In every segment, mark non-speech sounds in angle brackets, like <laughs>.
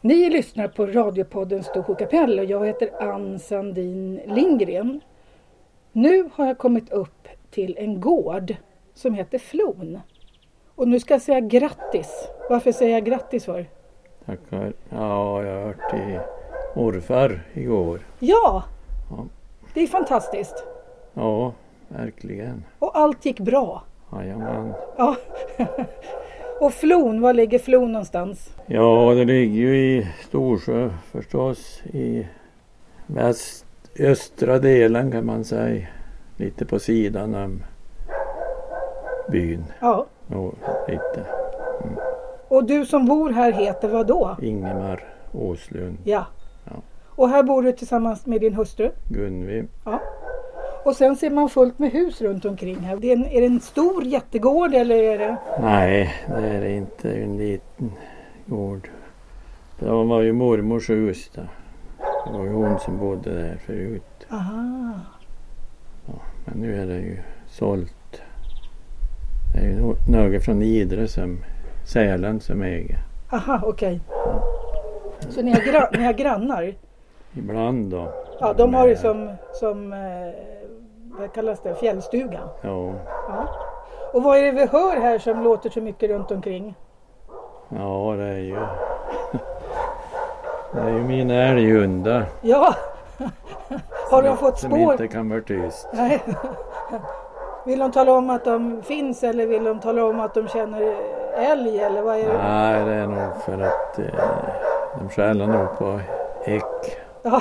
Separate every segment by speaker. Speaker 1: Ni lyssnar på radiopodden Storsjö kapell och jag heter Ann Sandin Lindgren. Nu har jag kommit upp till en gård som heter Flon. Och nu ska jag säga grattis. Varför säger jag grattis för?
Speaker 2: Tackar. Ja, jag har hört i morfar igår.
Speaker 1: Ja!
Speaker 2: Ja.
Speaker 1: Det är fantastiskt.
Speaker 2: Ja, verkligen.
Speaker 1: Och allt gick bra.
Speaker 2: Jajamän.
Speaker 1: Ja. <laughs> och Flon, var ligger Flon någonstans?
Speaker 2: Ja, det ligger ju i Storsjö förstås. I väst, östra delen kan man säga. Lite på sidan om byn.
Speaker 1: Ja.
Speaker 2: Jo, lite.
Speaker 1: Och du som bor här heter vad då?
Speaker 2: Ingemar Åslund,
Speaker 1: Ja.
Speaker 2: Ja.
Speaker 1: Och här bor du tillsammans med din hustru?
Speaker 2: Gunvi.
Speaker 1: Och sen ser man fullt med hus runt omkring här. Det är, en, är det en stor jättegård eller är det?
Speaker 2: Nej, det är det inte. Det är En liten gård. Det var ju mormors hus där. Det var ju hon som bodde där förut.
Speaker 1: Aha.
Speaker 2: Men nu är det ju sålt. Det är ju no- några från Idre som Sälen som äger.
Speaker 1: Aha, okej. Så ni har, gra- ni har grannar?
Speaker 2: Ibland då.
Speaker 1: Ja, de har det
Speaker 2: Men,
Speaker 1: som, som eh, vad kallas det, fjällstuga.
Speaker 2: Ja,
Speaker 1: Ja. Och vad är det vi hör här som låter så mycket runt omkring?
Speaker 2: ja det är ju. <laughs> Det är ju mina älghundar.
Speaker 1: Ja, <laughs> har de
Speaker 2: som-
Speaker 1: fått
Speaker 2: Som
Speaker 1: spår?
Speaker 2: inte kan vara tyst.
Speaker 1: Nej. Vill de tala om att de finns eller vill de tala om att de känner älg eller vad är det?
Speaker 2: Nej, det är nog för att eh, de skäller nog på häck.
Speaker 1: Ja.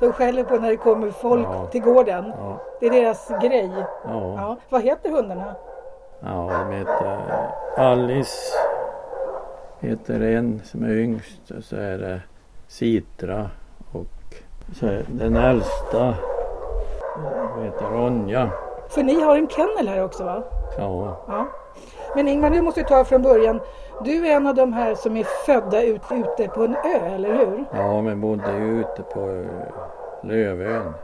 Speaker 1: De skäller på när det kommer folk
Speaker 2: Ja.
Speaker 1: till gården.
Speaker 2: Ja,
Speaker 1: Det är deras grej.
Speaker 2: ja,
Speaker 1: Ja. Vad heter hundarna?
Speaker 2: ja, de heter Alice. Heter en som är yngst och så är det Citra och så är den äldsta eh, hon heter Ronja.
Speaker 1: För ni har en kennel här också va?
Speaker 2: Ja,
Speaker 1: Ja. Men Ingmar, du måste ju ta från början. Du är en av de här som är födda ut, ute på en ö, eller hur?
Speaker 2: ja men bodde ju ute på eh, Lövön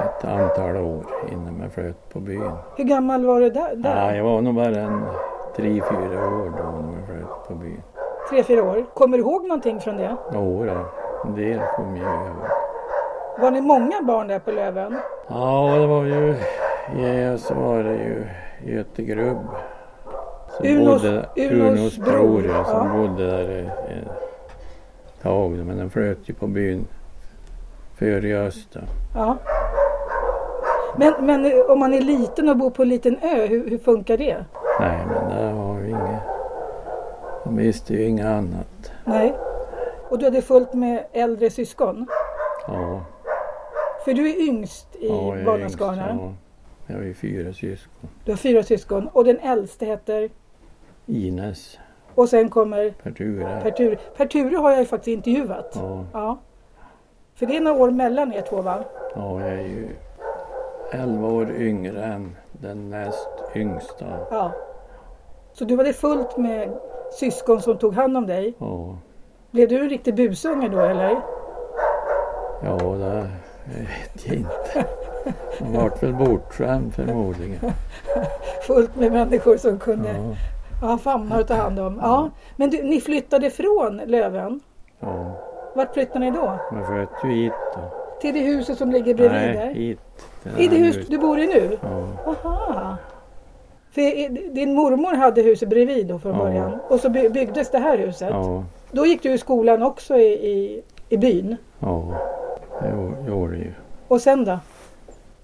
Speaker 2: ett antal år innan man flöt på byn.
Speaker 1: Hur gammal var du där?
Speaker 2: Nej,
Speaker 1: där?
Speaker 2: jag var nog bara en tre, fyra år då när man flöt på byn.
Speaker 1: Tre, fyra år. Kommer du ihåg någonting från det?
Speaker 2: Jo då, en del kom ju över.
Speaker 1: Var ni många barn där på Löven?
Speaker 2: Ja, det var ju... Ja, så var det ju Göte Grubb. Som
Speaker 1: Unos-
Speaker 2: bodde,
Speaker 1: Unos
Speaker 2: Unos bror,
Speaker 1: bror,
Speaker 2: ja, som
Speaker 1: ja.
Speaker 2: bodde där eh, ett tag. Men den flöt ju på byn före i öst. då.
Speaker 1: Ja. Men, men eh, om man är liten och bor på en liten ö, hur, hur funkar det?
Speaker 2: Nej, men där var ju inget... De visste ju inget annat.
Speaker 1: Nej. Och du hade fullt med äldre syskon?
Speaker 2: Ja,
Speaker 1: För du är yngst i
Speaker 2: ja jag är yngst.
Speaker 1: barnaskaran.
Speaker 2: ja. Jag har ju fyra syskon.
Speaker 1: Du har fyra syskon och den äldste heter?
Speaker 2: Ines,
Speaker 1: Och sen kommer
Speaker 2: Pertura.
Speaker 1: Perture. Perture har jag ju faktiskt intervjuat.
Speaker 2: Ja,
Speaker 1: Ja. För det är några år mellan er två va?
Speaker 2: ja, jag är ju elva år yngre än den näst yngsta.
Speaker 1: Ja. Så du hade fullt med syskon som tog hand om dig.
Speaker 2: Ja.
Speaker 1: Blev du en riktig busunge då eller?
Speaker 2: Ja, det vet jag inte. Han vart väl
Speaker 1: <laughs>
Speaker 2: bortskämd förmodligen.
Speaker 1: Fullt med människor som kunde
Speaker 2: Ja,
Speaker 1: ja, famna och ta hand om. Ja. Men du, ni flyttade från Löven.
Speaker 2: ja.
Speaker 1: Vart flyttade ni då?
Speaker 2: Man sköt ju hit då.
Speaker 1: Till det huset som ligger bredvid
Speaker 2: Nej,
Speaker 1: där?
Speaker 2: hit.
Speaker 1: I det
Speaker 2: här
Speaker 1: hus
Speaker 2: huset.
Speaker 1: du bor i nu?
Speaker 2: Ja,
Speaker 1: Aha. För i- din mormor hade huset bredvid då från
Speaker 2: Ja.
Speaker 1: början och så by- byggdes det här huset.
Speaker 2: ja,
Speaker 1: Då gick du i skolan också i, i, i byn.
Speaker 2: ja. Det gjorde- gjorde ju.
Speaker 1: Och sen då?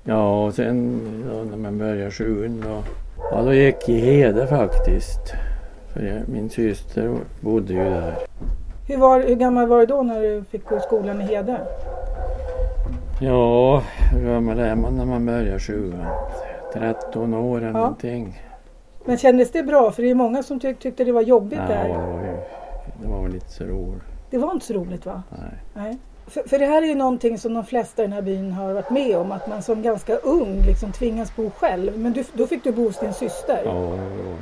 Speaker 2: Ja, och sen ja, när man började sjun då. Ja, då gick jag i Hede faktiskt. För jag, min syster bodde ju där.
Speaker 1: Hur, var, hur gammal var du då när du fick gå i skolan i Hede?
Speaker 2: Ja, hur gammal är man när man börjar sjuan? 13 år eller
Speaker 1: Ja.
Speaker 2: någonting.
Speaker 1: Men kändes det bra? För det är många som tyck, tyckte det var jobbigt
Speaker 2: Ja, det
Speaker 1: där.
Speaker 2: var ju det var väl inte så roligt.
Speaker 1: Det var inte så roligt va?
Speaker 2: Nej.
Speaker 1: Nej. För, för det här är ju någonting som de flesta i den här byn har varit med om. Att man som ganska ung liksom tvingas bo själv. Men du, då fick du bo hos din syster.
Speaker 2: Ja, det var det.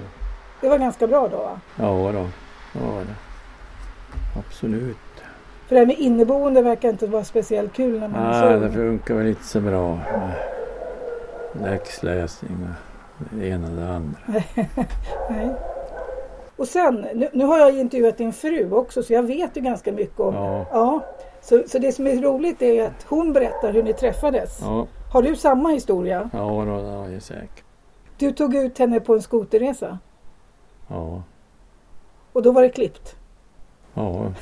Speaker 1: Det var ganska bra då va?
Speaker 2: Ja, då. det var det. Absolut.
Speaker 1: För det här med inneboende verkar inte vara speciellt kul när man är så
Speaker 2: Nej,
Speaker 1: ung.
Speaker 2: det funkar väl inte så bra med läxläsning och det ena och det andra.
Speaker 1: Nej. Och sen, nu, nu har jag intervjuat din fru också så jag vet ju ganska mycket om...
Speaker 2: Ja.
Speaker 1: Så, så det som är roligt är ju att hon berättar hur ni träffades.
Speaker 2: Ja,
Speaker 1: Har du samma historia?
Speaker 2: ja då, det är jag säker.
Speaker 1: Du tog ut henne på en skoterresa
Speaker 2: Ja,
Speaker 1: och då var det klippt.
Speaker 2: ja,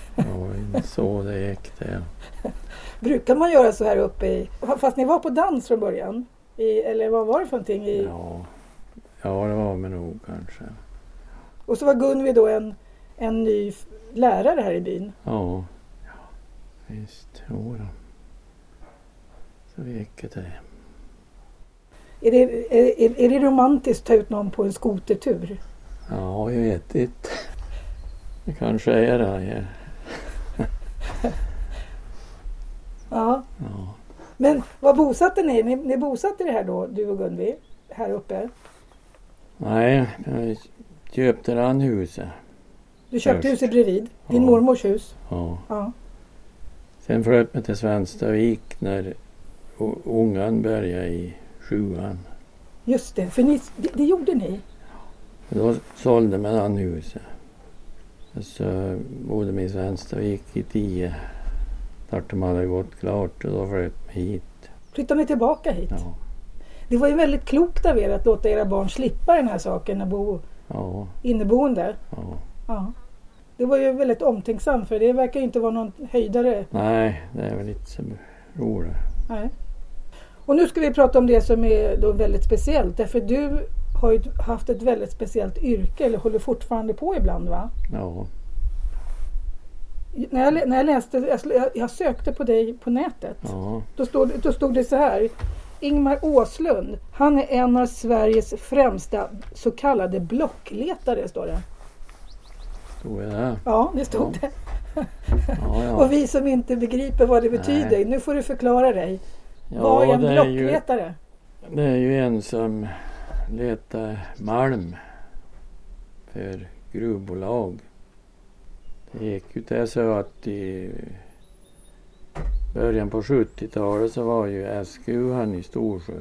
Speaker 2: ja så det gick det.
Speaker 1: Brukar man göra så här uppe i... Fast ni var på dans från början? I, eller vad var det för någonting? I,
Speaker 2: Ja, ja det var det nog kanske.
Speaker 1: Och så var Gunvi då en, en ny f- lärare här i byn.
Speaker 2: Ja, ja visst. Jo då. Så gick det.
Speaker 1: Är det, är, är- är det romantiskt att ta ut någon på en skotertur?
Speaker 2: Ja, jag vet inte. Det kanske är det. Ja.
Speaker 1: Ja.
Speaker 2: Ja.
Speaker 1: Men vad bosatte ni? Ni, ni bosatte er här då, du och Gunvi? Här uppe?
Speaker 2: Nej, jag köpte den huset.
Speaker 1: Du köpte
Speaker 2: Först.
Speaker 1: huset bredvid, din
Speaker 2: Ja.
Speaker 1: mormors hus.
Speaker 2: Ja.
Speaker 1: Ja.
Speaker 2: Sen flöt jag till Svenstavik när u- ungen började i sjuan.
Speaker 1: Just det, för ni, det, det gjorde ni.
Speaker 2: Då sålde man den huset. Så bodde vi i Svenstavik i tio. Snart de hade gått klart och då flöt vi hit.
Speaker 1: Flyttade ni tillbaka hit?
Speaker 2: Ja.
Speaker 1: Det var ju väldigt klokt av er att låta era barn slippa den här saken när bo
Speaker 2: Ja,
Speaker 1: inneboende.
Speaker 2: ja.
Speaker 1: Ja. Det var ju väldigt omtänksamt för det verkar ju inte vara någon höjdare.
Speaker 2: Nej, det är väl inte så roligt.
Speaker 1: Nej. Och nu ska vi prata om det som är då väldigt speciellt. Därför du har ju haft ett väldigt speciellt yrke, eller håller fortfarande på ibland va?
Speaker 2: Ja,
Speaker 1: När jag, lä- när jag läste, jag sl- jag, jag sökte på dig på nätet.
Speaker 2: ja,
Speaker 1: Då, stod, då stod det så här. Ingmar Åslund, han är en av Sveriges främsta så kallade blockletare, står det.
Speaker 2: tror jag det.
Speaker 1: Ja, det stod
Speaker 2: Ja.
Speaker 1: det.
Speaker 2: Ja, ja.
Speaker 1: Och vi som inte begriper vad det betyder, nu får du förklara dig. vad är
Speaker 2: ja
Speaker 1: en
Speaker 2: det, är ju,
Speaker 1: blockletare?
Speaker 2: det är ju en som letar malm för gruvbolag. Det gick ju till så att i början på 70-talet så var ju SGU han i Storsjö,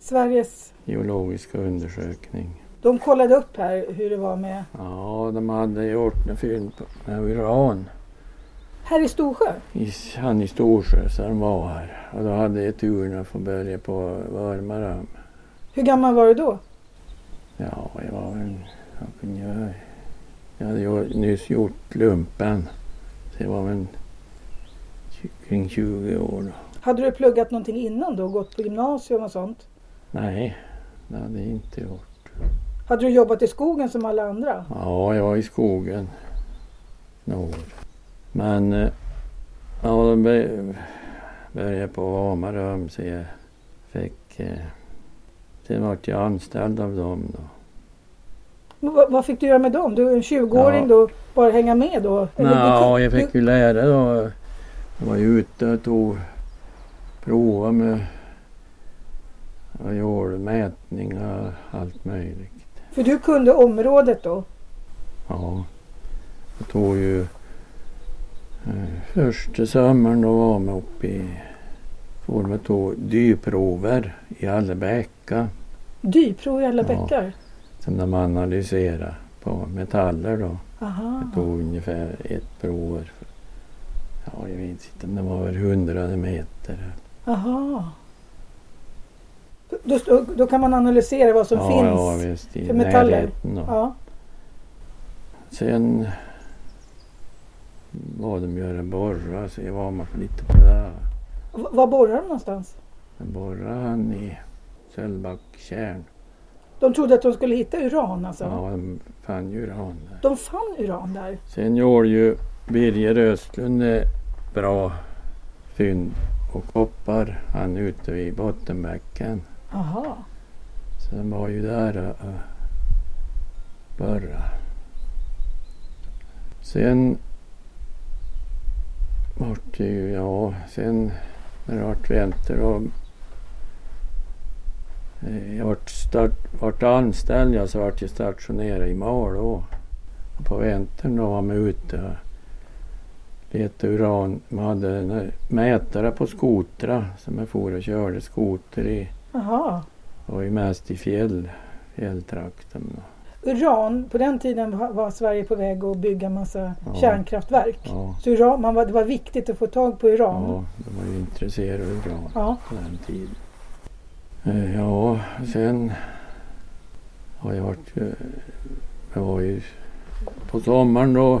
Speaker 1: Sveriges...
Speaker 2: geologiska undersökning.
Speaker 1: De kollade upp här hur det var med...
Speaker 2: Ja, de hade gjort en fynd på- med uran.
Speaker 1: Här i Storsjö?
Speaker 2: i, han i Storsjö så han var här. Och då hade jag turen att få börja på Vörmaram.
Speaker 1: Hur gammal var du då?
Speaker 2: Ja, jag var väl... Vad kunde jag göra? Jag hade ju nyss gjort lumpen. Så jag var väl tj- kring 20 år då.
Speaker 1: Hade du pluggat någonting innan då? Gått på gymnasium och sånt?
Speaker 2: Nej, det hade jag inte gjort.
Speaker 1: Hade du jobbat i skogen som alla andra?
Speaker 2: Ja, jag var i skogen några år. Men... eh, Ja, då bör- började jag på Vamarum så jag fick... eh, Sen vart jag anställd av dem då.
Speaker 1: Men Vad, vad fick du göra med dem? Du är en 20-åring
Speaker 2: Ja.
Speaker 1: då, bara hänga med då? Eller
Speaker 2: Ja, jag
Speaker 1: du,
Speaker 2: fick ju lära då. Jag var ju ute och tog prova med och gjorde mätningar och allt möjligt.
Speaker 1: för du kunde området då?
Speaker 2: Ja. Jag tog ju eh, första sommaren då var man uppe i for med tog dyprover i Allebäcka
Speaker 1: Dyprov i alla
Speaker 2: Ja.
Speaker 1: bäckar?
Speaker 2: som de analyserade på metaller då.
Speaker 1: Aha.
Speaker 2: Det tog ungefär ett prov. Ja, jag minns inte om det var över hundrade meter.
Speaker 1: Aha. Då, då, då kan man analysera vad som
Speaker 2: ja, Ja,
Speaker 1: finns?
Speaker 2: visst. I
Speaker 1: för metaller.
Speaker 2: närheten. Då.
Speaker 1: ja.
Speaker 2: Sen var de göra borra så jag var med lite på det.
Speaker 1: V- Var borrar de någonstans?
Speaker 2: Men borra han i Sölvbacktjärn.
Speaker 1: De trodde att de skulle hitta uran alltså?
Speaker 2: Ja, de fann ju uran där.
Speaker 1: De fann uran där?
Speaker 2: Sen gjorde ju Birger Östlund eh, bra fynd och koppar. Han ute vid Bottenbäcken.
Speaker 1: Aha.
Speaker 2: Så de var ju där eh, och borra. Sen vart det ju, ja, sen när det vart vinter och eh, jag vart, start, vart anställd, jag så vart jag stationerad i Malå. Och på vintern då var man ute och letade uran. Man hade en eh, mätare på skotra som jag for och körde skoter i.
Speaker 1: Aha.
Speaker 2: Det var ju mest i fjäll, fjälltrakten. då.
Speaker 1: uran, på den tiden var var Sverige på väg att bygga massa
Speaker 2: Ja.
Speaker 1: kärnkraftverk.
Speaker 2: Ja,
Speaker 1: Så uran, man var, det var viktigt att få tag på uran.
Speaker 2: ja, de var ju intresserade av uran
Speaker 1: Ja.
Speaker 2: på den tiden. Eh, Ja, sen har jag varit... eh, Jag var ju... På sommaren då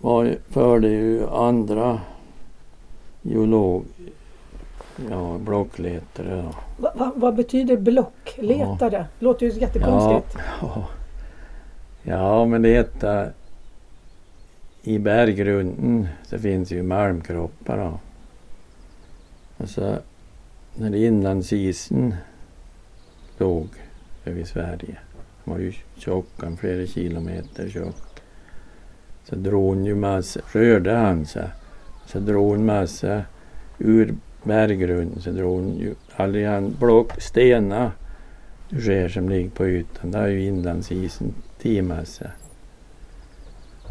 Speaker 2: var, förde ju andra geolog... Ja, blockletare då.
Speaker 1: Va, va, vad betyder blockletare? Låter ju jättekonstigt.
Speaker 2: Ja, ja men leta eh, i berggrunden så finns ju malmkroppar. Då. Alltså, när inlandsisen låg över Sverige, den var ju tjock, han flera kilometer tjock, så drog hon ju massa, rörde han sig, så drog hon massa ur berggrunden, så drog hon ju allihand block, stenar skär som ligger på ytan. Där är ju inlandsisen timassa.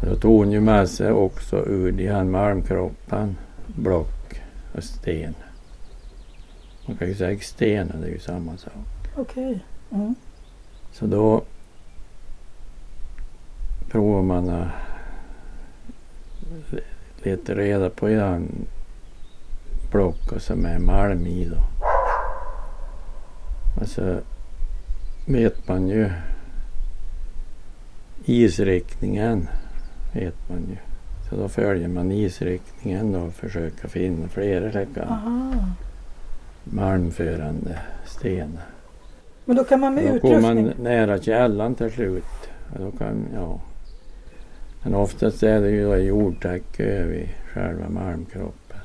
Speaker 2: Då tog hon ju massa också ur de här malmkroppan, block och sten. Man kan ju säga stenar, det är ju samma sak.
Speaker 1: Okej. Mm.
Speaker 2: Så då provar man att leta reda på en block och som är malm i då. Och så vet man ju isriktningen. Vet man ju. Så då följer man isriktningen då och försöker finna flera sådana
Speaker 1: Aha.
Speaker 2: malmförande stenar.
Speaker 1: Men då kan man med
Speaker 2: Då går
Speaker 1: utrustning...
Speaker 2: man nära källan till slut. Ja, Då kan, ja. Men oftast är det ju då jordtäcke över själva malmkroppen.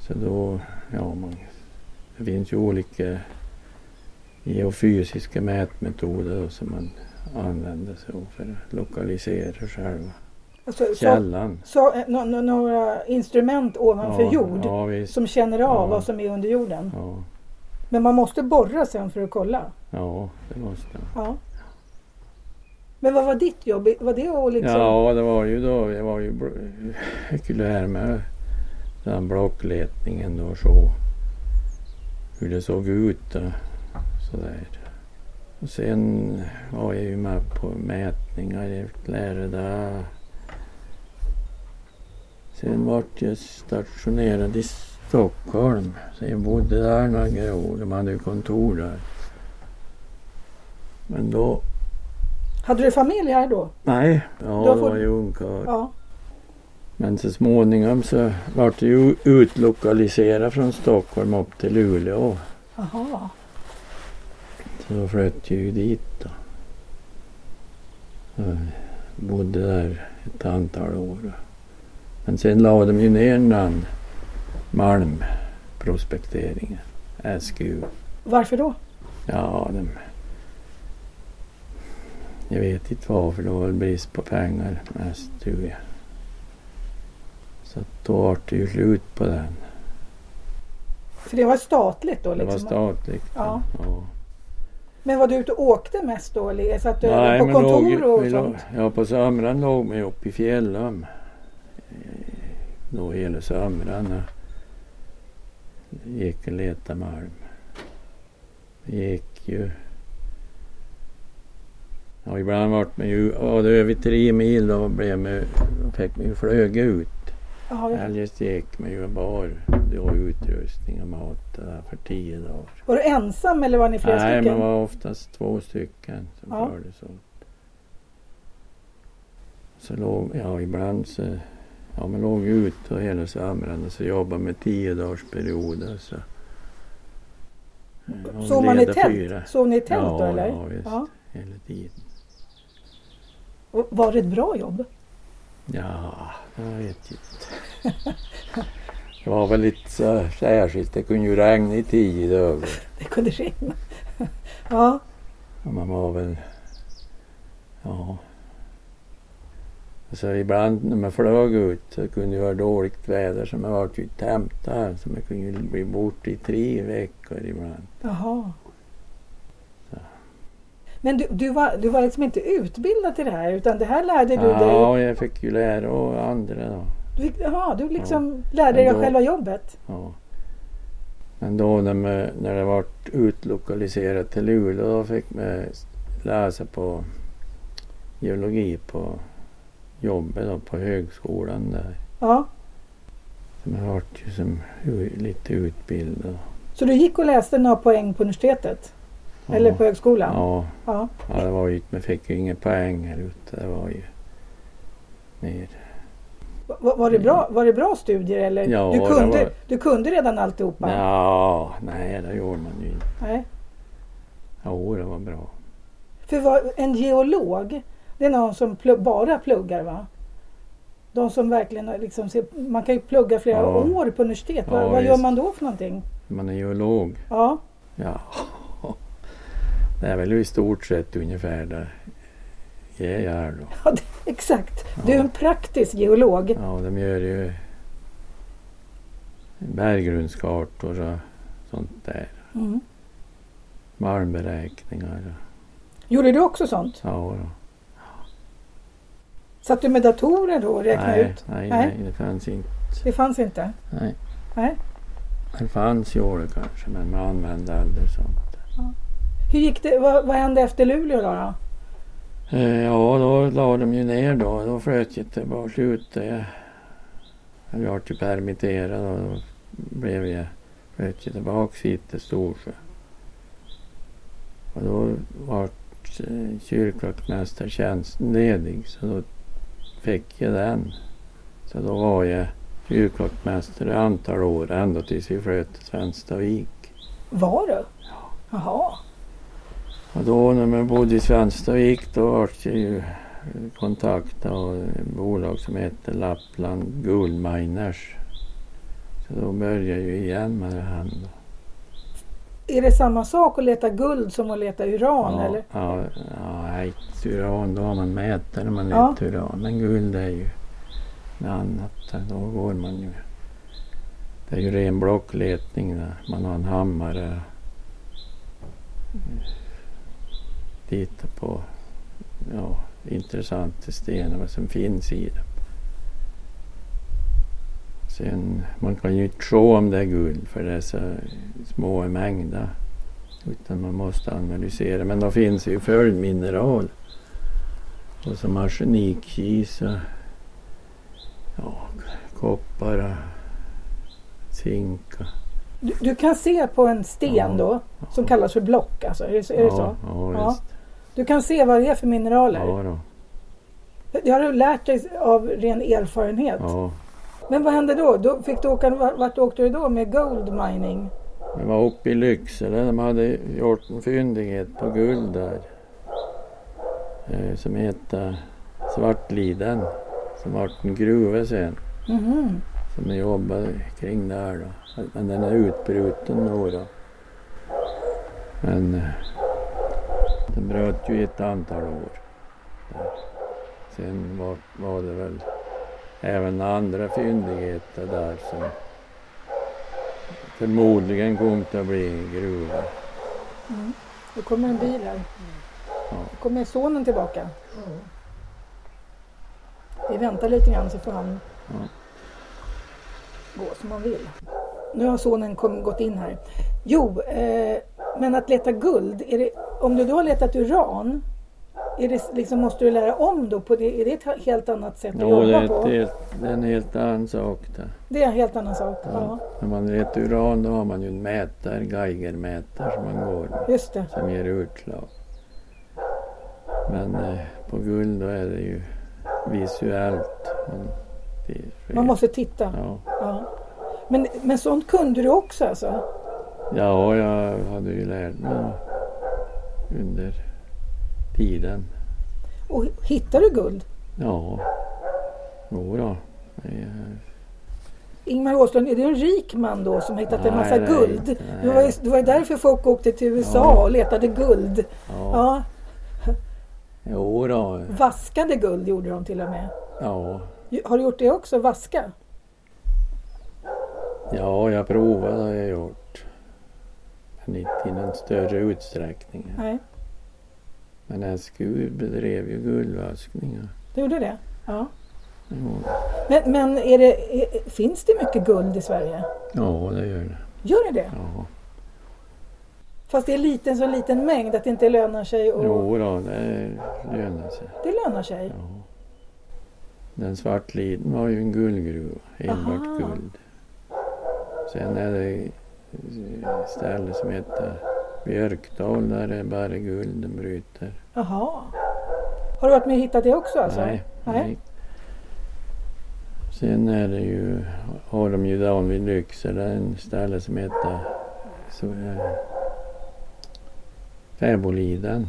Speaker 2: Så då, ja, man, det finns ju olika geofysiska mätmetoder då som man använder sig av för att lokalisera själva
Speaker 1: Alltså, så,
Speaker 2: källan.
Speaker 1: så, eh, nå- nå- några instrument ovanför
Speaker 2: ja,
Speaker 1: jord
Speaker 2: Ja, visst.
Speaker 1: som känner av
Speaker 2: Ja.
Speaker 1: vad som är under jorden.
Speaker 2: Ja,
Speaker 1: Men man måste borra sen för att kolla.
Speaker 2: ja, det måste man.
Speaker 1: Ja. Men vad var ditt jobb? Var det att liksom...
Speaker 2: Ja, det var ju då. Jag var ju bl- hykulär med den blockletningen då så hur det såg ut och sådär. Och sen var jag ju med på mätningar, jag lärde där. Sen vart jag stationerad i Stockholm. Så jag bodde där några år. De hade ju kontor där. Men då...
Speaker 1: Hade du familj här då?
Speaker 2: Nej, ja,
Speaker 1: Då
Speaker 2: då
Speaker 1: får-
Speaker 2: var jag ungkarl.
Speaker 1: Ja.
Speaker 2: Men så småningom så vart det ju utlokaliserat från Stockholm upp till Luleå.
Speaker 1: Aha.
Speaker 2: Så då flöt jag ju dit då. Så bodde där ett antal år. Men sen la de ju ner den här malmprospekteringen, SGU.
Speaker 1: Varför då?
Speaker 2: Ja, de... Jag vet inte varför. Det var väl brist på pengar mest, tror jag. Så att då var det ju slut på den.
Speaker 1: För det var statligt då?
Speaker 2: Det var
Speaker 1: Liksom.
Speaker 2: statligt.
Speaker 1: Ja.
Speaker 2: Ja.
Speaker 1: Men var du ute och åkte mest då? Eller satt du
Speaker 2: Nej,
Speaker 1: på
Speaker 2: men låg ju-
Speaker 1: kontor och
Speaker 2: vi låg,
Speaker 1: sånt?
Speaker 2: Ja, på somrarna låg vi uppe i fjällen. Eh, Då hela somrarna. Gick och letade malm. Vi gick ju... Ja, ibland vart man ju... Ja, det var över tre mil då blev man, då fick man ju flyga ut.
Speaker 1: Jaha, jag-
Speaker 2: Eljest gick man ju bara. Det var utrustning och mat där för tio dagar.
Speaker 1: Var du ensam eller var ni flera
Speaker 2: Nej,
Speaker 1: stycken?
Speaker 2: man var oftast två stycken som
Speaker 1: Ja.
Speaker 2: fördes upp. Så låg, ja ibland så, ja man låg ute och hela somrarna och så jobbade med tio dagars perioder. Så, Ja,
Speaker 1: Mm. Sov man i
Speaker 2: leda
Speaker 1: tält? Sov ni i tält
Speaker 2: ja,
Speaker 1: då eller?
Speaker 2: Ja, visst.
Speaker 1: Ja.
Speaker 2: Hela tiden.
Speaker 1: Och Var det ett bra jobb? <laughs>
Speaker 2: Ja, jag vet inte. Det var väl lite så särskilt. Det kunde ju regna i tio dagar.
Speaker 1: Det kunde regna. <laughs> ja,
Speaker 2: Ja, Man var väl... Ja. Alltså ibland när man flög ut så kunde det vara dåligt väder så man vart ju hämtad. Så man kunde ju bli borta i tre veckor ibland.
Speaker 1: jaha. Men du, du, var, du var liksom inte utbildad till det här utan det här lärde du dig?
Speaker 2: Ja, jag fick ju lära av andra då.
Speaker 1: Du, fick- jaha, du liksom lärde dig
Speaker 2: Men då-
Speaker 1: själva jobbet?
Speaker 2: Ja. Men då när, vi, när det var utlokaliserat till Luleå då fick vi läsa på geologi på jobbet då, på högskolan där.
Speaker 1: Ja.
Speaker 2: Så man vart ju som u- lite utbildad.
Speaker 1: Så du gick och läste några poäng på universitetet?
Speaker 2: Ja.
Speaker 1: Eller på högskolan?
Speaker 2: Ja,
Speaker 1: Ja.
Speaker 2: ja det var ju, man fick ju inga poäng här ute. Det var ju ner.
Speaker 1: Va- Var, det bra, var det bra studier eller?
Speaker 2: Ja,
Speaker 1: du,
Speaker 2: det
Speaker 1: kunde,
Speaker 2: var-
Speaker 1: du kunde redan alltihopa?
Speaker 2: Ja, nej det gjorde man ju inte.
Speaker 1: Nej.
Speaker 2: Jo, det var bra.
Speaker 1: För vad, en geolog, det är någon som plu- bara pluggar va? De som verkligen har liksom, ser- man kan ju plugga flera
Speaker 2: Ja.
Speaker 1: år på universitet.
Speaker 2: Ja,
Speaker 1: vad, vad gör
Speaker 2: visst.
Speaker 1: man då för någonting?
Speaker 2: Man är geolog.
Speaker 1: Ja,
Speaker 2: Ja, <laughs> det är väl i stort sett ungefär där jag är då.
Speaker 1: ja det- exakt. Du är en praktisk geolog.
Speaker 2: Ja, de gör ju berggrundskartor och sånt där.
Speaker 1: Mm.
Speaker 2: Malmberäkningar. och-
Speaker 1: Gjorde du också sånt?
Speaker 2: Ja, då.
Speaker 1: Satt du med datorer då och räknade
Speaker 2: nej,
Speaker 1: ut?
Speaker 2: nej,
Speaker 1: Nej.
Speaker 2: nej, det fanns inte.
Speaker 1: Det fanns inte?
Speaker 2: Nej.
Speaker 1: Nej.
Speaker 2: Det fanns ju det kanske, men man använde aldrig sånt.
Speaker 1: Hur gick det? Vad, vad hände efter Luleå då? då?
Speaker 2: Eh, Ja, då la de ju ner då. Då flöt jag tillbaka ut. Jag jag blev ju permitterad och då blev jag, flöt jag tillbaka hit till Storsjö. Och då var kyrkvaktmästartjänsten ledig så då fick jag den. Så då var jag kyrkvaktmästare ett antal år ända tills vi flöt till Svenstavik.
Speaker 1: Var du? Jaha.
Speaker 2: Och då när man bodde i Svenstavik då var jag ju kontaktad av ett bolag som hette Lappland Guldminers. Så då började jag ju igen med det här. då.
Speaker 1: Är det samma sak att leta guld som att leta uran? Eller?
Speaker 2: ja, ja, nej, uran då har man mätare när man
Speaker 1: Ja.
Speaker 2: letar uran. Men guld är ju något annat. Då går man ju... Det är ju ren blockletning där. Man har en hammare. Titta på ja, intressanta stenar vad som finns i dem. Sen, man kan ju inte se om det är guld för det är så små mängder. Utan man måste analysera. Men då finns det ju följdmineral. Och som arsenikkis och ja, koppar och zink. och-
Speaker 1: Du, du kan se på en sten
Speaker 2: Ja.
Speaker 1: då som kallas för block. Alltså. Är det, så- är det så?
Speaker 2: Ja, ja,
Speaker 1: Ja.
Speaker 2: visst.
Speaker 1: Du kan se vad det är för mineraler.
Speaker 2: Ja, då.
Speaker 1: Det har du lärt dig av ren erfarenhet.
Speaker 2: Ja.
Speaker 1: Men vad hände då? då fick du åka, vart vart åkte du då med gold mining?
Speaker 2: Vi var uppe i Lycksele. De hade gjort en fyndighet på guld där. Eh, som hette Svartliden. Som vart en gruva sen.
Speaker 1: Mhm.
Speaker 2: Som jag jobbade kring där då. Men den är utbruten då. då. Men eh, den bröt ju i ett antal år. Sen var, var det väl även andra fyndigheter där som förmodligen kom till att bli en gruva.
Speaker 1: Nu kommer en bil här. Nu kommer sonen tillbaka. Vi väntar lite grann så får han
Speaker 2: Ja.
Speaker 1: gå som han vill. Nu har sonen kom, gått in här. Jo, eh, men att leta guld, är det, om du då har letat uran, är det, liksom, måste du lära om då? På det, är det ett helt annat sätt att
Speaker 2: Jo, det
Speaker 1: jobba
Speaker 2: är, ett,
Speaker 1: på?
Speaker 2: helt- det är en helt annan sak där.
Speaker 1: Det är en helt annan sak. Ja.
Speaker 2: Ja. När man letar uran då har man ju en mätare, Geigermätare som man går med.
Speaker 1: Just det.
Speaker 2: som ger utslag. Men eh, på guld då är det ju visuellt. Man, det-
Speaker 1: Man måste titta.
Speaker 2: Ja.
Speaker 1: Ja. Men, men sånt kunde du också alltså?
Speaker 2: ja, jag hade ju lärt mig då under tiden.
Speaker 1: Och hittar du guld?
Speaker 2: Ja, jo då. Det är-
Speaker 1: Ingmar Åslund, är du en rik man då som har hittat en
Speaker 2: Nej,
Speaker 1: massa
Speaker 2: det är
Speaker 1: guld?
Speaker 2: inte.
Speaker 1: Det var, ju, det var ju därför folk åkte till USA
Speaker 2: Ja.
Speaker 1: och letade guld.
Speaker 2: Ja,
Speaker 1: Ja,
Speaker 2: jo då.
Speaker 1: vaskade guld gjorde de till och med.
Speaker 2: Ja.
Speaker 1: Har du gjort det också? Vaska?
Speaker 2: ja, jag provade har jag gjort. Men inte i någon större utsträckning.
Speaker 1: Nej,
Speaker 2: Men SGU bedrev ju guldvaskningar.
Speaker 1: du gjorde det? Ja.
Speaker 2: Jo.
Speaker 1: Men, men är det, är, finns det mycket guld i Sverige?
Speaker 2: Ja, det gör det.
Speaker 1: Gör det det?
Speaker 2: Ja.
Speaker 1: Fast det är liten så liten mängd att det inte lönar sig och
Speaker 2: Jo då, det lönar sig.
Speaker 1: det lönar sig.
Speaker 2: Ja. Den svartliden var ju en guldgruva, enbart
Speaker 1: Aha.
Speaker 2: guld. Sen är det ett ställe som heter Björkdal där det bara gulden bryter.
Speaker 1: Jaha. Har du varit med och hittat det också alltså?
Speaker 2: Nej,
Speaker 1: Nej.
Speaker 2: nej. Sen är det ju, har de ju down vid Lycksele en ställe som heter så, eh, Fäboliden.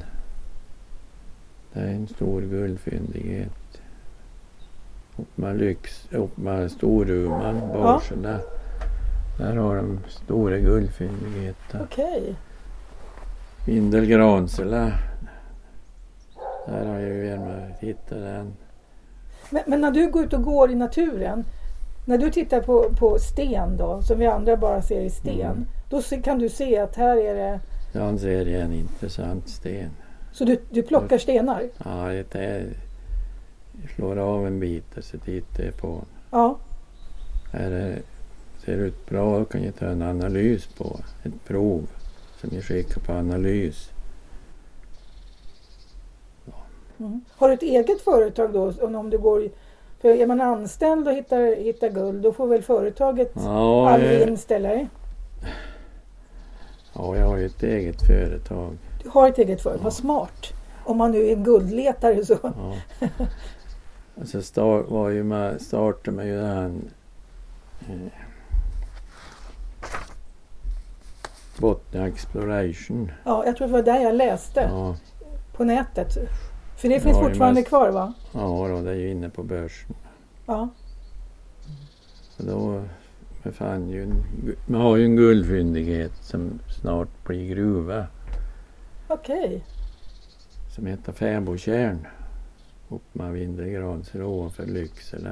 Speaker 2: Det är en stor guldfyndighet. Uppe med Lyx, uppe med Storuman, Barsele. Där har de stora guldfyndigheter.
Speaker 1: Okej.
Speaker 2: Vindelgransele. Där har jag ju gärna hittat den.
Speaker 1: Men, men när du går ut och går i naturen, när du tittar på, på sten då, som vi andra bara ser i sten,
Speaker 2: Mm.
Speaker 1: då se, kan du se att här är det...
Speaker 2: Han ser det är en intressant sten.
Speaker 1: Så du, du plockar
Speaker 2: Mm.
Speaker 1: stenar?
Speaker 2: Ja, det är, slår av en bit och så tittar på den.
Speaker 1: Ja.
Speaker 2: Är det, ser det ut bra då kan jag ta en analys på ett prov som jag skickar på analys.
Speaker 1: Mm. Har du ett eget företag då? Om om du går, för är man anställd och hittar, hittar guld, då får väl företaget
Speaker 2: Ja,
Speaker 1: all
Speaker 2: jag,
Speaker 1: vinst eller?
Speaker 2: ja, jag har ju ett eget företag.
Speaker 1: Du har ett eget företag, vad smart. Om man nu är en guldletare så.
Speaker 2: Ja. Alltså star, var ju med, startade med ju den eh, Botnia Exploration.
Speaker 1: Ja, jag tror det var där jag läste
Speaker 2: Ja,
Speaker 1: på nätet. För det
Speaker 2: Ja,
Speaker 1: finns
Speaker 2: det är
Speaker 1: fortfarande
Speaker 2: mest-
Speaker 1: kvar va?
Speaker 2: ja då, det är ju inne på börsen.
Speaker 1: Ja.
Speaker 2: Och då man fann ju en, gu- man har ju en guldfyndighet som snart blir gruva
Speaker 1: Okej.
Speaker 2: som heter Fäbotjärn. Upp med Vindelgransele ovanför Lycksele.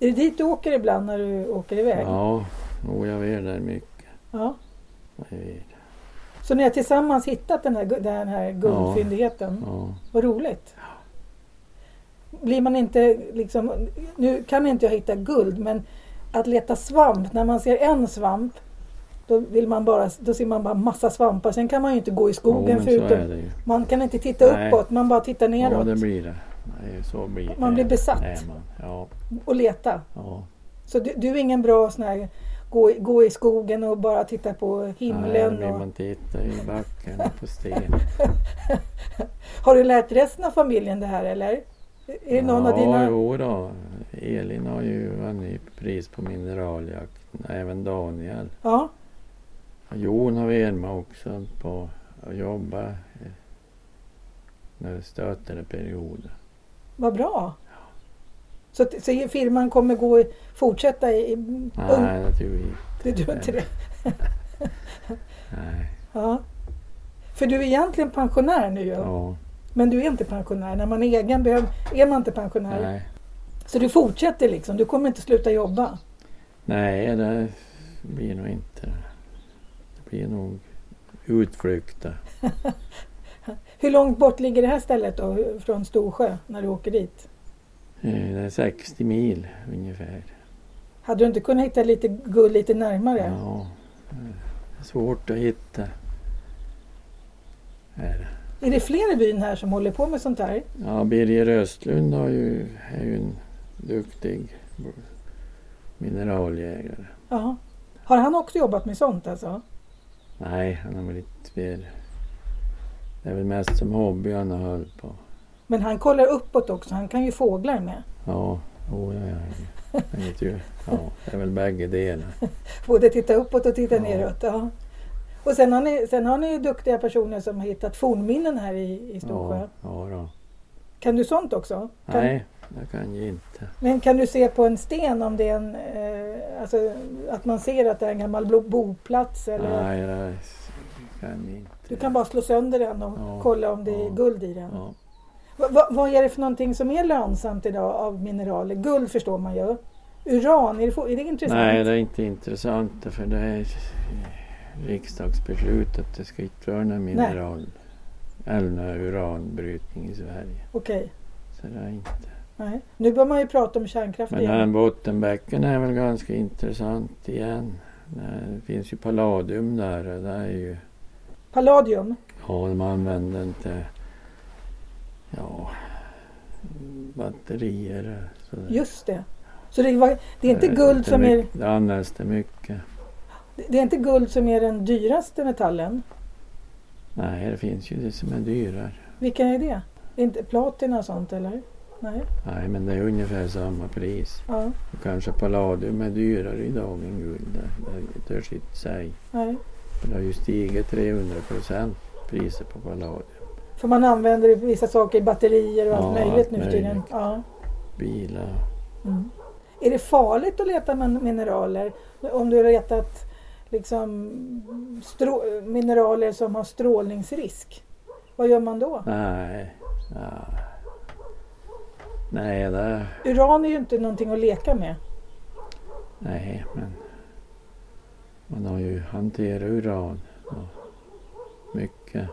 Speaker 1: Är det dit du åker ibland när du åker iväg?
Speaker 2: Ja, oh, jag är där mycket.
Speaker 1: Ja.
Speaker 2: Jag vet,
Speaker 1: Så ni har tillsammans hittat den här, gu- den här guldfyndigheten?
Speaker 2: Ja.
Speaker 1: Vad roligt. Blir man inte liksom, nu kan inte jag hitta guld men att leta svamp, när man ser en svamp då, vill man bara, då ser man bara massa svampar. Sen kan man ju inte gå i
Speaker 2: Jo,
Speaker 1: skogen
Speaker 2: men så är
Speaker 1: förutom,
Speaker 2: det ju.
Speaker 1: man kan inte titta
Speaker 2: Nej.
Speaker 1: uppåt, man bara tittar
Speaker 2: Ja,
Speaker 1: neråt
Speaker 2: det blir det. Nej, så blir det.
Speaker 1: Man blir besatt.
Speaker 2: Är man. Ja,
Speaker 1: och leta.
Speaker 2: ja.
Speaker 1: Så du, du är ingen bra sån här, gå, i- gå i skogen och bara titta på
Speaker 2: Nej,
Speaker 1: himlen.
Speaker 2: då vill
Speaker 1: och,
Speaker 2: man titta i backen och på sten.
Speaker 1: har du lärt resten av familjen det här eller? <laughs> Är det någon
Speaker 2: ja,
Speaker 1: av dina...
Speaker 2: Jo då. Elin har ju vunnit pris på mineraljakten. Även Daniel.
Speaker 1: Ja,
Speaker 2: Och Jon har varit med också på att jobba eh, när det stötade perioder.
Speaker 1: Vad bra! Så, att- så firman kommer gå i, fortsätta i... i ung-
Speaker 2: Nej, det tror jag inte.
Speaker 1: det tror inte det.
Speaker 2: Nej.
Speaker 1: Ja. För du är egentligen pensionär nu ju.
Speaker 2: Ja.
Speaker 1: Men du är inte pensionär. När man är egen behöv, är man inte pensionär.
Speaker 2: Nej.
Speaker 1: Så du fortsätter liksom. Du kommer inte sluta jobba.
Speaker 2: Nej, det blir nog inte. Det blir nog utflykter.
Speaker 1: Hur långt bort ligger det här stället då från Storsjö när du åker dit?
Speaker 2: Eh, Det är 60 mil ungefär.
Speaker 1: Hade du inte kunnat hitta lite guld lite närmare?
Speaker 2: Ja. Det är svårt att hitta. Är det.
Speaker 1: Är det fler i byn här som håller på med sånt här?
Speaker 2: Ja, Birger Östlund har ju, är ju en duktig mineraljägare.
Speaker 1: Ja. Har han också jobbat med sånt alltså?
Speaker 2: Nej, han har väl inte mer... Det är väl mest som hobby han har hållit på.
Speaker 1: Men han kollar uppåt också. Han kan ju fåglar med.
Speaker 2: Ja, oh, ja, ja, ja. Jag vet ju. Ja, det är väl
Speaker 1: <laughs>
Speaker 2: bägge delar.
Speaker 1: Både titta uppåt och titta
Speaker 2: Ja.
Speaker 1: neråt. Ja. Och sen har, ni, sen har ni ju duktiga personer som har hittat fornminnen här i, i Storsjö.
Speaker 2: Ja, ja då.
Speaker 1: Kan du sånt också? Kan,
Speaker 2: Nej, det kan jag inte.
Speaker 1: Men kan du se på en sten om det är en... Eh, alltså att man ser att det är en gammal blo- boplats? Eller,
Speaker 2: Nej, det kan jag inte.
Speaker 1: du kan bara slå sönder den och
Speaker 2: Ja.
Speaker 1: kolla om det är
Speaker 2: Ja.
Speaker 1: guld i den.
Speaker 2: Ja,
Speaker 1: Va, va, vad är det för någonting som är lönsamt idag av mineraler? Guld förstår man ju. Uran, är det, fo- är det intressant?
Speaker 2: Nej, det är inte intressant för det är riksdagsbeslut att det ska inte vara någon mineral eller någon uranbrytning i Sverige.
Speaker 1: Okej.
Speaker 2: Så det är inte.
Speaker 1: Nej.
Speaker 2: Typ.
Speaker 1: Nu bör man ju prata om kärnkraft
Speaker 2: Men
Speaker 1: igen.
Speaker 2: den bottenbäcken är väl ganska intressant igen. Nej, Det finns ju palladium där. Det där är ju,
Speaker 1: Palladium?
Speaker 2: ja, de använder inte ja, batterier. och Sådär.
Speaker 1: Just det. Så det, var, det är inte
Speaker 2: Eh,
Speaker 1: guld som är,
Speaker 2: mycket- Det används det mycket.
Speaker 1: det är inte guld som är den dyraste metallen.
Speaker 2: Nej, det finns ju det som är dyrare.
Speaker 1: Vilken är det? det är inte platina och sånt eller? Nej.
Speaker 2: Nej, men det är ungefär samma pris.
Speaker 1: Ja.
Speaker 2: Och kanske palladium är dyrare idag än guld. Det, det törs inte säga.
Speaker 1: Nej.
Speaker 2: För Det har ju stigit 300 procent priset på palladium.
Speaker 1: För man använder i vissa saker i batterier och allt
Speaker 2: Ja,
Speaker 1: möjligt nu
Speaker 2: allt
Speaker 1: för tiden.
Speaker 2: möjligt.
Speaker 1: Ja.
Speaker 2: Bilar.
Speaker 1: Mm. Är det farligt att leta min- mineraler? Om du har letat liksom, strå- mineraler som har strålningsrisk? Vad gör man då?
Speaker 2: Nej. Ja. Nej, det...
Speaker 1: Uran är ju inte någonting att leka med.
Speaker 2: Nej, men... Man har ju hanterat uran. Ja. Mycket.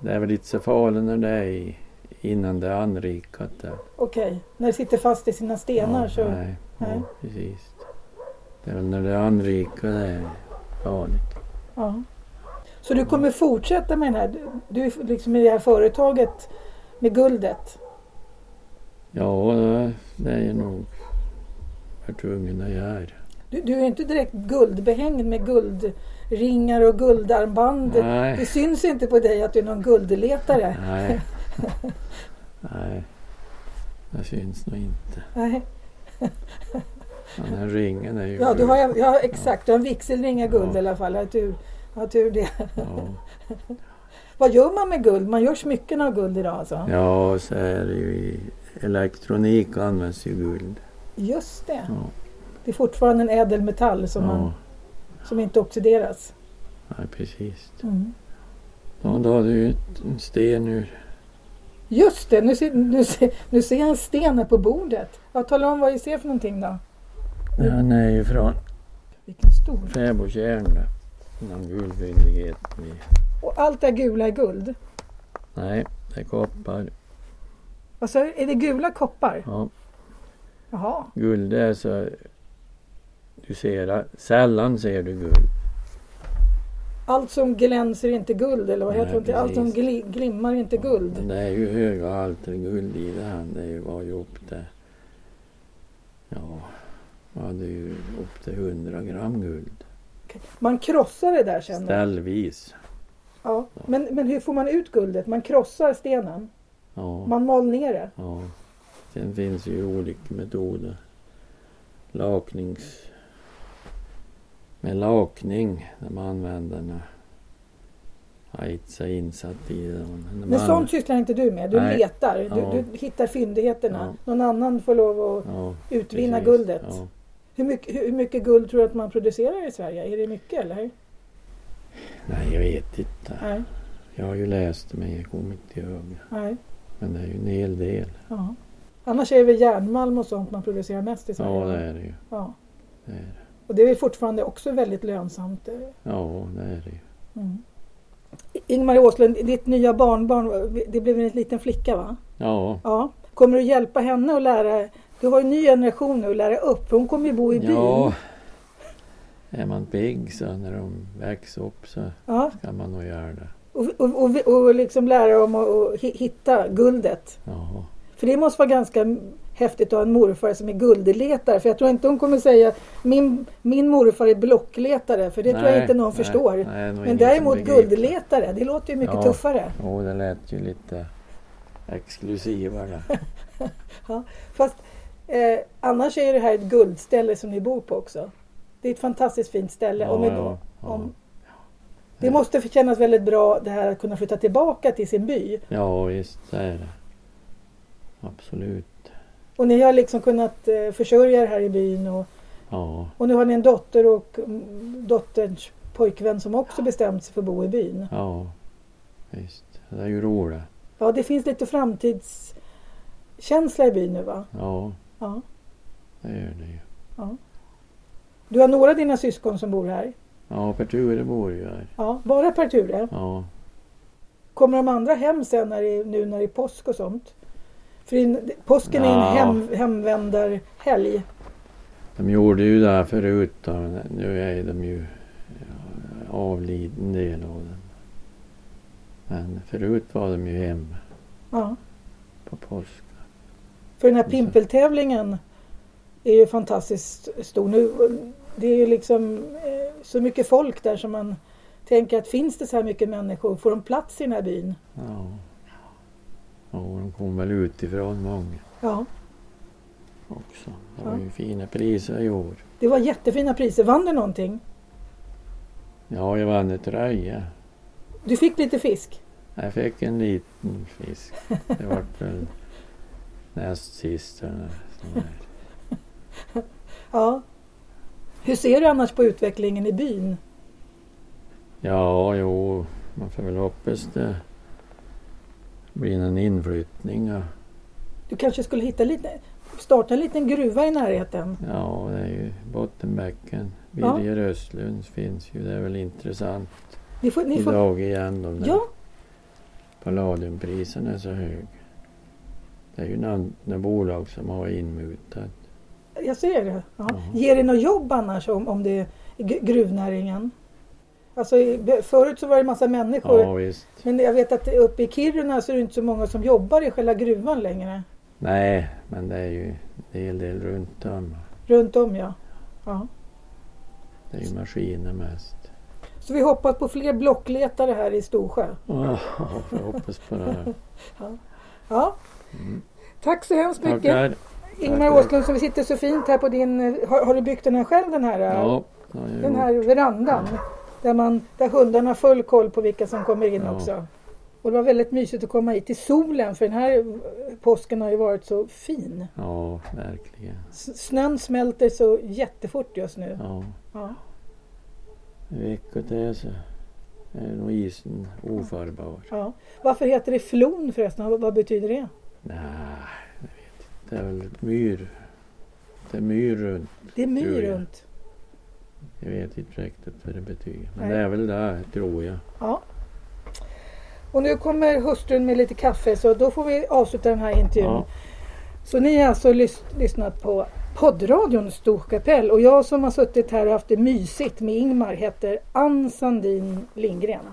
Speaker 2: Det är väl inte så farligt när det är i- innan det är anrikat. Där.
Speaker 1: Okej, när det sitter fast i sina stenar
Speaker 2: ja,
Speaker 1: så...
Speaker 2: Nej,
Speaker 1: nej.
Speaker 2: Ja, precis. Det är väl när det är anrikat det är farligt.
Speaker 1: Ja. Så du kommer fortsätta med den här, du, du är liksom i det här företaget med guldet.
Speaker 2: Ja, det- det är jag nog jag tvungen att göra.
Speaker 1: Du, du är ju inte direkt guldbehängd med guldringar och guldarmband. Det
Speaker 2: Nej.
Speaker 1: syns inte på dig att du är någon guldletare. <laughs>
Speaker 2: Nej. Nej. Det syns nog inte.
Speaker 1: Nej.
Speaker 2: Den här ringen är ju...
Speaker 1: Ja, du har, ja, exakt. Du har en vigselring av guld
Speaker 2: Ja.
Speaker 1: i alla fall. Jag har tur, jag har tur det.
Speaker 2: Ja,
Speaker 1: Vad gör man med guld? Man gör smycken av guld idag alltså?
Speaker 2: ja och så är det ju i elektronik används ju guld.
Speaker 1: Just det.
Speaker 2: Ja,
Speaker 1: Det är fortfarande en ädel metall som, man,
Speaker 2: ja
Speaker 1: som inte oxideras.
Speaker 2: nej, precis.
Speaker 1: Mm.
Speaker 2: Ja, då har du ju ett- en sten ur...
Speaker 1: Just det, nu ser, nu, ser, nu ser jag en sten här på bordet. Ja, tala om vad vi ser för någonting då.
Speaker 2: Den är ju från
Speaker 1: Vilken stor.
Speaker 2: fäbodtjärn. där. Någon guldfyndighet. i-
Speaker 1: Och allt det här gula är guld.
Speaker 2: Nej, det är koppar.
Speaker 1: Alltså, är det gula koppar?
Speaker 2: Ja,
Speaker 1: Jaha.
Speaker 2: guld det är så... Du ser... Sällan ser du guld.
Speaker 1: Allt som glänser är inte guld, eller vad
Speaker 2: Nej,
Speaker 1: heter det? inte? Allt som
Speaker 2: precis.
Speaker 1: gli, glimmar är inte guld.
Speaker 2: Men Det är ju höga halter guld i det här. Det var ju upp till... Ja, man hade ju upp till 100 gram guld.
Speaker 1: Man krossar det där sen.
Speaker 2: Ställvis.
Speaker 1: Ja. Men, men hur får man ut guldet? Man krossar stenen.
Speaker 2: Ja,
Speaker 1: Man mal ner det.
Speaker 2: ja. Sen finns ju olika metoder. Laknings... Med lakning, när man använder den. Aitsa insatt i den. När
Speaker 1: Men
Speaker 2: man-
Speaker 1: sånt sysslar inte du med. Du
Speaker 2: Nej.
Speaker 1: letar. Du,
Speaker 2: Ja.
Speaker 1: du hittar fyndigheterna.
Speaker 2: Ja.
Speaker 1: Någon annan får lov att
Speaker 2: Ja,
Speaker 1: utvinna
Speaker 2: precis.
Speaker 1: guldet.
Speaker 2: Ja.
Speaker 1: Hur, mycket, hur mycket guld tror du att man producerar i Sverige? Är det mycket eller?
Speaker 2: Nej, jag vet inte.
Speaker 1: Nej.
Speaker 2: Jag har ju läst det, men jag kommer inte ihåg.
Speaker 1: Nej.
Speaker 2: Men det är ju en hel del.
Speaker 1: Ja. Annars är det väl järnmalm och sånt man producerar mest i Sverige?
Speaker 2: Ja, det
Speaker 1: va?
Speaker 2: är det ju.
Speaker 1: Ja.
Speaker 2: Det är det.
Speaker 1: Och det är fortfarande också väldigt lönsamt. eh.
Speaker 2: Ja, det är det ju.
Speaker 1: Mm. Ingmar Åslund, ditt nya barnbarn, det blev en liten flicka va?
Speaker 2: Ja.
Speaker 1: Ja. Kommer du hjälpa henne att lära? Du har ju en ny generation nu att lära upp. Hon kommer ju bo i byn.
Speaker 2: ja. Är man pigg så när de växer upp så
Speaker 1: Ja.
Speaker 2: ska man nog göra det.
Speaker 1: Och, och, och, och liksom lära dem att att hi- hitta guldet.
Speaker 2: Ja.
Speaker 1: För det måste vara ganska häftigt att ha en morfar som är guldletare. För jag tror inte hon kommer säga min, min morfar är blockletare. För det tror jag inte någon förstår. Men däremot guldletare, det låter ju mycket
Speaker 2: Ja.
Speaker 1: tuffare.
Speaker 2: Jo, det lät ju lite exklusivare.
Speaker 1: <laughs> Fast eh, annars är det här ett guldställe som ni bor på också. Det är ett fantastiskt fint ställe. om vi,
Speaker 2: ja.
Speaker 1: om, det måste för- kännas väldigt bra det här att kunna flytta tillbaka till sin by.
Speaker 2: ja, visst det är det. Absolut.
Speaker 1: Och ni har liksom kunnat eh, försörja er här i byn. Och,
Speaker 2: Ja,
Speaker 1: och nu har ni en dotter och mm, dotterns pojkvän som också bestämt sig för att bo i byn.
Speaker 2: ja. Visst. Det är ju roligt.
Speaker 1: Ja, det finns lite framtidskänsla i byn nu va?
Speaker 2: Ja,
Speaker 1: Ja.
Speaker 2: det gör det ju.
Speaker 1: Du har några av dina syskon som bor här.
Speaker 2: Ja, Perture bor ju här.
Speaker 1: Ja, bara per Ture.
Speaker 2: Ja.
Speaker 1: Kommer de andra hem sen när det, är- nu när det är påsk och sånt? För det är en- påsken är en
Speaker 2: Ja.
Speaker 1: hem, hemvändarhelg.
Speaker 2: De gjorde ju det här förut då, men nu är de ju ja, avliden del av dem. Men förut var de ju hemma
Speaker 1: Ja.
Speaker 2: på påsk.
Speaker 1: För den här pimpeltävlingen är ju fantastiskt stor nu. Det är ju liksom eh, så mycket folk där som man tänker att finns det så här mycket människor? Får de plats i den här byn?
Speaker 2: Ja. ja, de kom väl utifrån många
Speaker 1: Ja.
Speaker 2: också. Det var ju fina priser i år.
Speaker 1: Det var jättefina priser. Vann du någonting?
Speaker 2: Ja, jag vann en tröja.
Speaker 1: Du fick lite fisk?
Speaker 2: Jag fick en liten fisk. Det var väl näst sist. eller sån där.
Speaker 1: Ja. Hur ser du annars på utvecklingen i byn?
Speaker 2: Ja, jo, man får väl hoppas det blir någon inflyttning. och-
Speaker 1: Du kanske skulle hitta lite, starta en liten gruva i närheten?
Speaker 2: Ja, det är ju Bottenbäcken.
Speaker 1: Ja.
Speaker 2: Birger Östlunds finns ju. Det är väl intressant
Speaker 1: Ni får, ni får,
Speaker 2: idag igen. De där
Speaker 1: ja,
Speaker 2: palladiumpriserna är så hög. Det är ju några bolag som har inmutat.
Speaker 1: jag ser det. Ja.
Speaker 2: Ja.
Speaker 1: Ger det något jobb annars om, om det är gr- gruvnäringen? Alltså, i- förut så var det massa människor.
Speaker 2: Ja, visst.
Speaker 1: Men jag vet att uppe i Kiruna så är det inte så många som jobbar i själva gruvan längre.
Speaker 2: Nej, men det är ju en hel del runt om.
Speaker 1: Runt om ja. ja.
Speaker 2: Det är ju maskiner mest.
Speaker 1: Så vi hoppas på fler blockletare här i Storsjö.
Speaker 2: Ja, jag hoppas på det. här.
Speaker 1: Ja. Tack så hemskt mycket
Speaker 2: Tackar.
Speaker 1: Ingmar
Speaker 2: tackar.
Speaker 1: Åslund som vi sitter så fint här på din... eh, Har, har du byggt den här själv den här, eh,
Speaker 2: Ja, det har jag
Speaker 1: den
Speaker 2: gjort.
Speaker 1: här verandan? Där, man, där hundarna har full koll på vilka som kommer in
Speaker 2: Ja.
Speaker 1: också. Och det var väldigt mysigt att komma hit i solen för den här eh, påsken har ju varit så fin.
Speaker 2: Ja, verkligen.
Speaker 1: S- Snön smälter så jättefort just nu.
Speaker 2: Ja.
Speaker 1: Ja.
Speaker 2: En vecka till så är nog isen ofarbar.
Speaker 1: Ja. Varför heter det flon förresten? Vad, vad betyder det?
Speaker 2: Nej, jag vet inte. Det är väl myr. Det är myr runt.
Speaker 1: Det är myr
Speaker 2: Jo, ja.
Speaker 1: runt.
Speaker 2: Jag vet inte riktigt vad det betyder. Men
Speaker 1: Nej.
Speaker 2: det är väl det, tror jag.
Speaker 1: Ja. Och nu kommer hustrun med lite kaffe så då får vi avsluta den här intervjun.
Speaker 2: Ja,
Speaker 1: Så ni har alltså lys- lyssnat på poddradion Storkapell och jag som har suttit här och haft det mysigt med Ingmar heter Ann Sandin Lindgren.